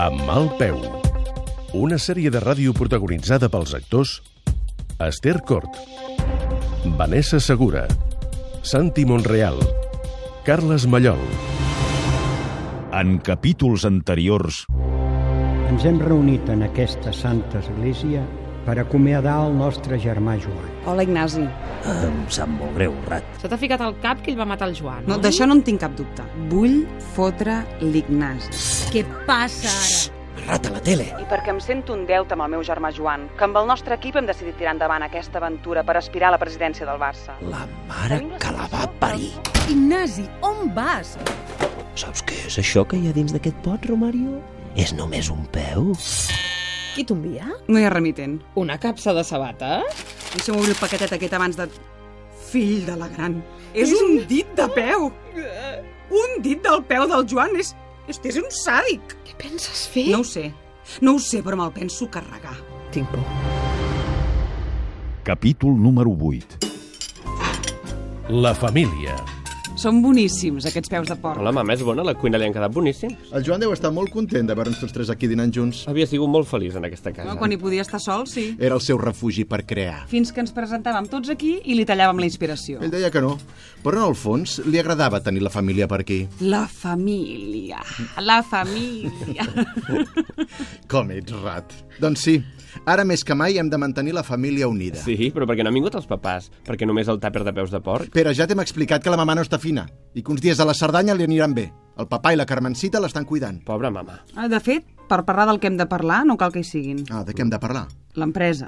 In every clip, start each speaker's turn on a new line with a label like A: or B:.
A: Amb mal peu. Una sèrie de ràdio protagonitzada pels actors Esther Cort, Vanessa Segura, Santi Monreal, Carles Mallol.
B: En capítols anteriors...
C: Ens hem reunit en aquesta santa església per acomiadar el nostre germà Joan.
D: Hola, Ignasi.
E: Em sap molt greu, Rat.
F: Se t'ha ficat al cap que ell va matar el Joan,
D: No, D'això no en tinc cap dubte. Vull fotre l'Ignasi.
G: Què passa ara?
E: Rat a la tele.
D: I perquè em sento un deute amb el meu germà Joan, que amb el nostre equip hem decidit tirar endavant aquesta aventura per aspirar a la presidència del Barça.
E: La mare que la va parir.
G: Ignasi, on vas?
E: Saps què és això que hi ha dins d'aquest pot, Romario? És només un peu?
G: Qui t'envia?
D: No hi ha remitent.
F: Una capsa de sabata?
D: Deixa'm obrir el paquetet aquest abans de... Fill de la gran. És un dit de peu. Un dit del peu del Joan és... És, és un sàdic.
F: Què penses fer?
D: No ho sé. No ho sé, però me'l penso carregar.
G: Tinc por.
B: Capítol número 8.
A: La família.
D: Són boníssims, aquests peus de porc.
H: Hola, mama, és bona? La cuina li han quedat boníssim.
I: El Joan deu estar molt content de veure'ns tots tres aquí dinant junts.
H: Havia sigut molt feliç en aquesta casa.
D: No, quan hi podia estar sol, sí.
I: Era el seu refugi per crear.
D: Fins que ens presentàvem tots aquí i li tallàvem la inspiració.
I: Ell deia que no, però en el fons li agradava tenir la família per aquí.
D: La família, la família.
I: Com ets rat. Doncs sí, ara més que mai hem de mantenir la família unida.
H: Sí, però perquè no han vingut els papàs? Perquè només el tàper de peus de porc?
I: Però ja t'hem explicat que la mamà no està fina i que uns dies a la Cerdanya li aniran bé. El papà i la Carmencita l'estan cuidant.
H: Pobra mama.
D: Ah, De fet, per parlar del que hem de parlar, no cal que hi siguin.
I: Ah, de què hem de parlar?
D: L'empresa.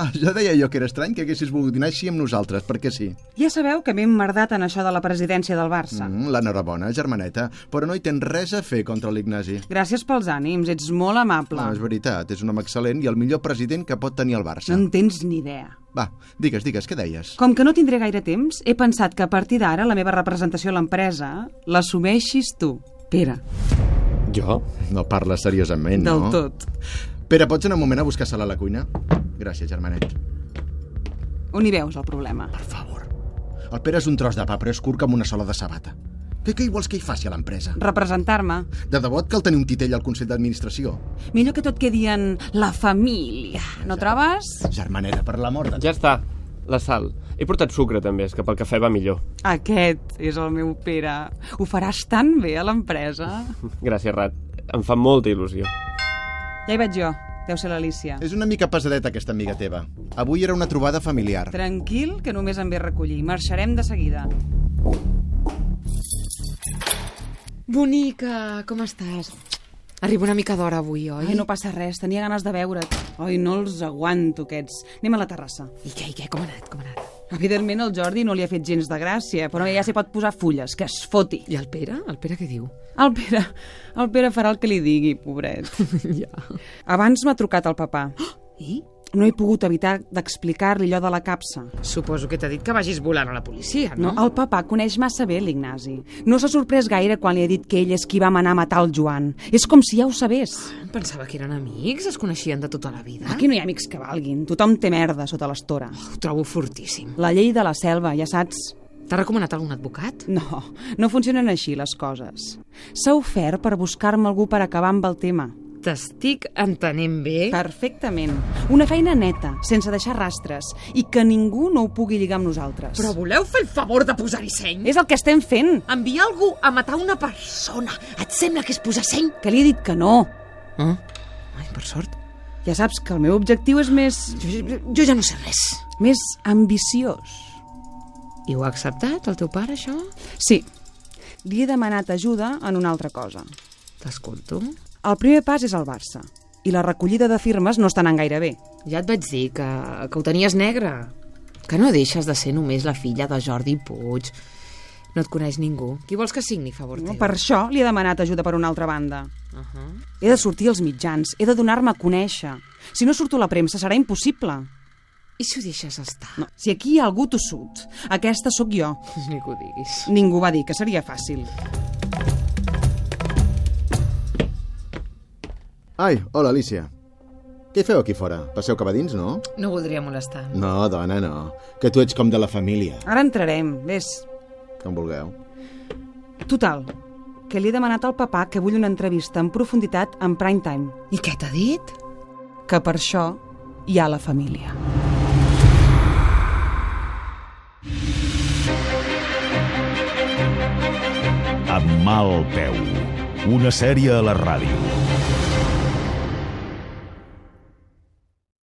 I: Ah, ja deia jo que era estrany que haguessis volgut dinar així amb nosaltres, perquè sí.
D: Ja sabeu que m'he emmerdat en això de la presidència del Barça.
I: Mm, L'enhorabona, germaneta, però no hi tens res a fer contra l'Ignasi.
D: Gràcies pels ànims, ets molt amable.
I: Ah, és veritat, és un home excel·lent i el millor president que pot tenir el Barça.
D: No en tens ni idea.
I: Va, digues, digues, què deies?
D: Com que no tindré gaire temps, he pensat que a partir d'ara la meva representació a l'empresa l'assumeixis tu, Pere,
H: Jo?
I: No parles seriosament,
D: del
I: no?
D: tot.
I: Pere, pots anar un moment a buscar sal a la cuina? Gràcies, germanet.
D: On hi veus el problema?
I: Per favor. El Pere és un tros de pa, però és curt com una sola de sabata. Què, què hi vols que hi faci a l'empresa?
D: Representar-me.
I: De debò et cal tenir un titell al Consell d'Administració?
D: Millor que tot quedi en la família. No trobes?
I: Germaneta, per l'amor de...
H: Ja està. La sal. He portat sucre, també, és que pel cafè va millor.
D: Aquest és el meu Pere. Ho faràs tan bé a l'empresa.
H: Gràcies, Rat. Em fa molta il·lusió.
D: Ja hi vaig jo. Deu ser l'Alícia.
I: És una mica pesadeta, aquesta amiga teva. Avui era una trobada familiar.
D: Tranquil, que només em ve a recollir. Marxarem de seguida.
J: Bonica, com estàs? Arribo una mica d'hora avui, oi?
D: Ai, no passa res. Tenia ganes de veure't. Ai, no els aguanto, aquests. Anem a la terrassa.
J: I què, i què? Com ha anat, com ha anat?
D: Evidentment, el Jordi no li ha fet gens de gràcia, però ja s'hi pot posar fulles, que es foti.
J: I el Pere? El Pere què diu?
D: El Pere, el Pere farà el que li digui, pobret.
J: ja.
D: Abans m'ha trucat el papà.
J: I?
D: No he pogut evitar d'explicar-li allò de la capsa.
K: Suposo que t'ha dit que vagis volant a la policia,
D: No, el papà coneix massa bé l'Ignasi. No s'ha sorprès gaire quan li ha dit que ell és qui va manar a matar el Joan. És com si ja ho sabés.
J: Em pensava que eren amics, es coneixien de tota la vida.
D: Aquí no hi ha amics que valguin. Tothom té merda sota l'estora.
J: Ho trobo fortíssim.
D: La llei de la selva, ja saps...
J: T'ha recomanat algun advocat?
D: No, no funcionen així les coses. S'ha ofert per buscar-me algú per acabar amb el tema.
J: T'estic entenent bé.
D: Perfectament. Una feina neta, sense deixar rastres, i que ningú no ho pugui lligar amb nosaltres.
K: Però voleu fer el favor de posar-hi seny?
D: És el que estem fent,
K: Enviar algú a matar una persona, et sembla que és posar seny?
D: que li he dit que no.
J: Ah. Ai, per sort.
D: Ja saps que el meu objectiu és més...
J: Jo, jo- jo ja no sé res.
D: més ambiciós.
J: I ho ha acceptat, el teu pare, això?
D: Sí, li he demanat ajuda en una altra cosa.
J: T'escolto.
D: El primer pas és el Barça, i la recollida de firmes no està anant gaire bé.
J: Ja et vaig dir que, que ho tenies negre. Que no deixes de ser només la filla de Jordi Puig. No et coneix ningú. Qui vols que signi, a favor teu?
D: No, per això li he demanat ajuda per una altra banda.
J: Uh -huh.
D: He de sortir als mitjans, he de donar-me a conèixer. Si no surto a la premsa serà impossible.
J: I si ho deixes estar?
D: No, si aquí hi ha algú tossut, aquesta sóc jo.
J: Ni que ho diguis.
D: Ningú va dir que seria fàcil.
I: Ai, hola, Alicia. Què feu aquí fora? Passeu cap a dins, no?
J: No voldria molestar.
I: No, dona, no. Que tu ets com de la família.
D: Ara entrarem, vés.
I: Com vulgueu.
D: Total, que li he demanat al papà que vull una entrevista en profunditat en prime time.
J: I què t'ha dit?
D: Que per això hi ha la família.
B: Amb mal peu. Una sèrie a la ràdio.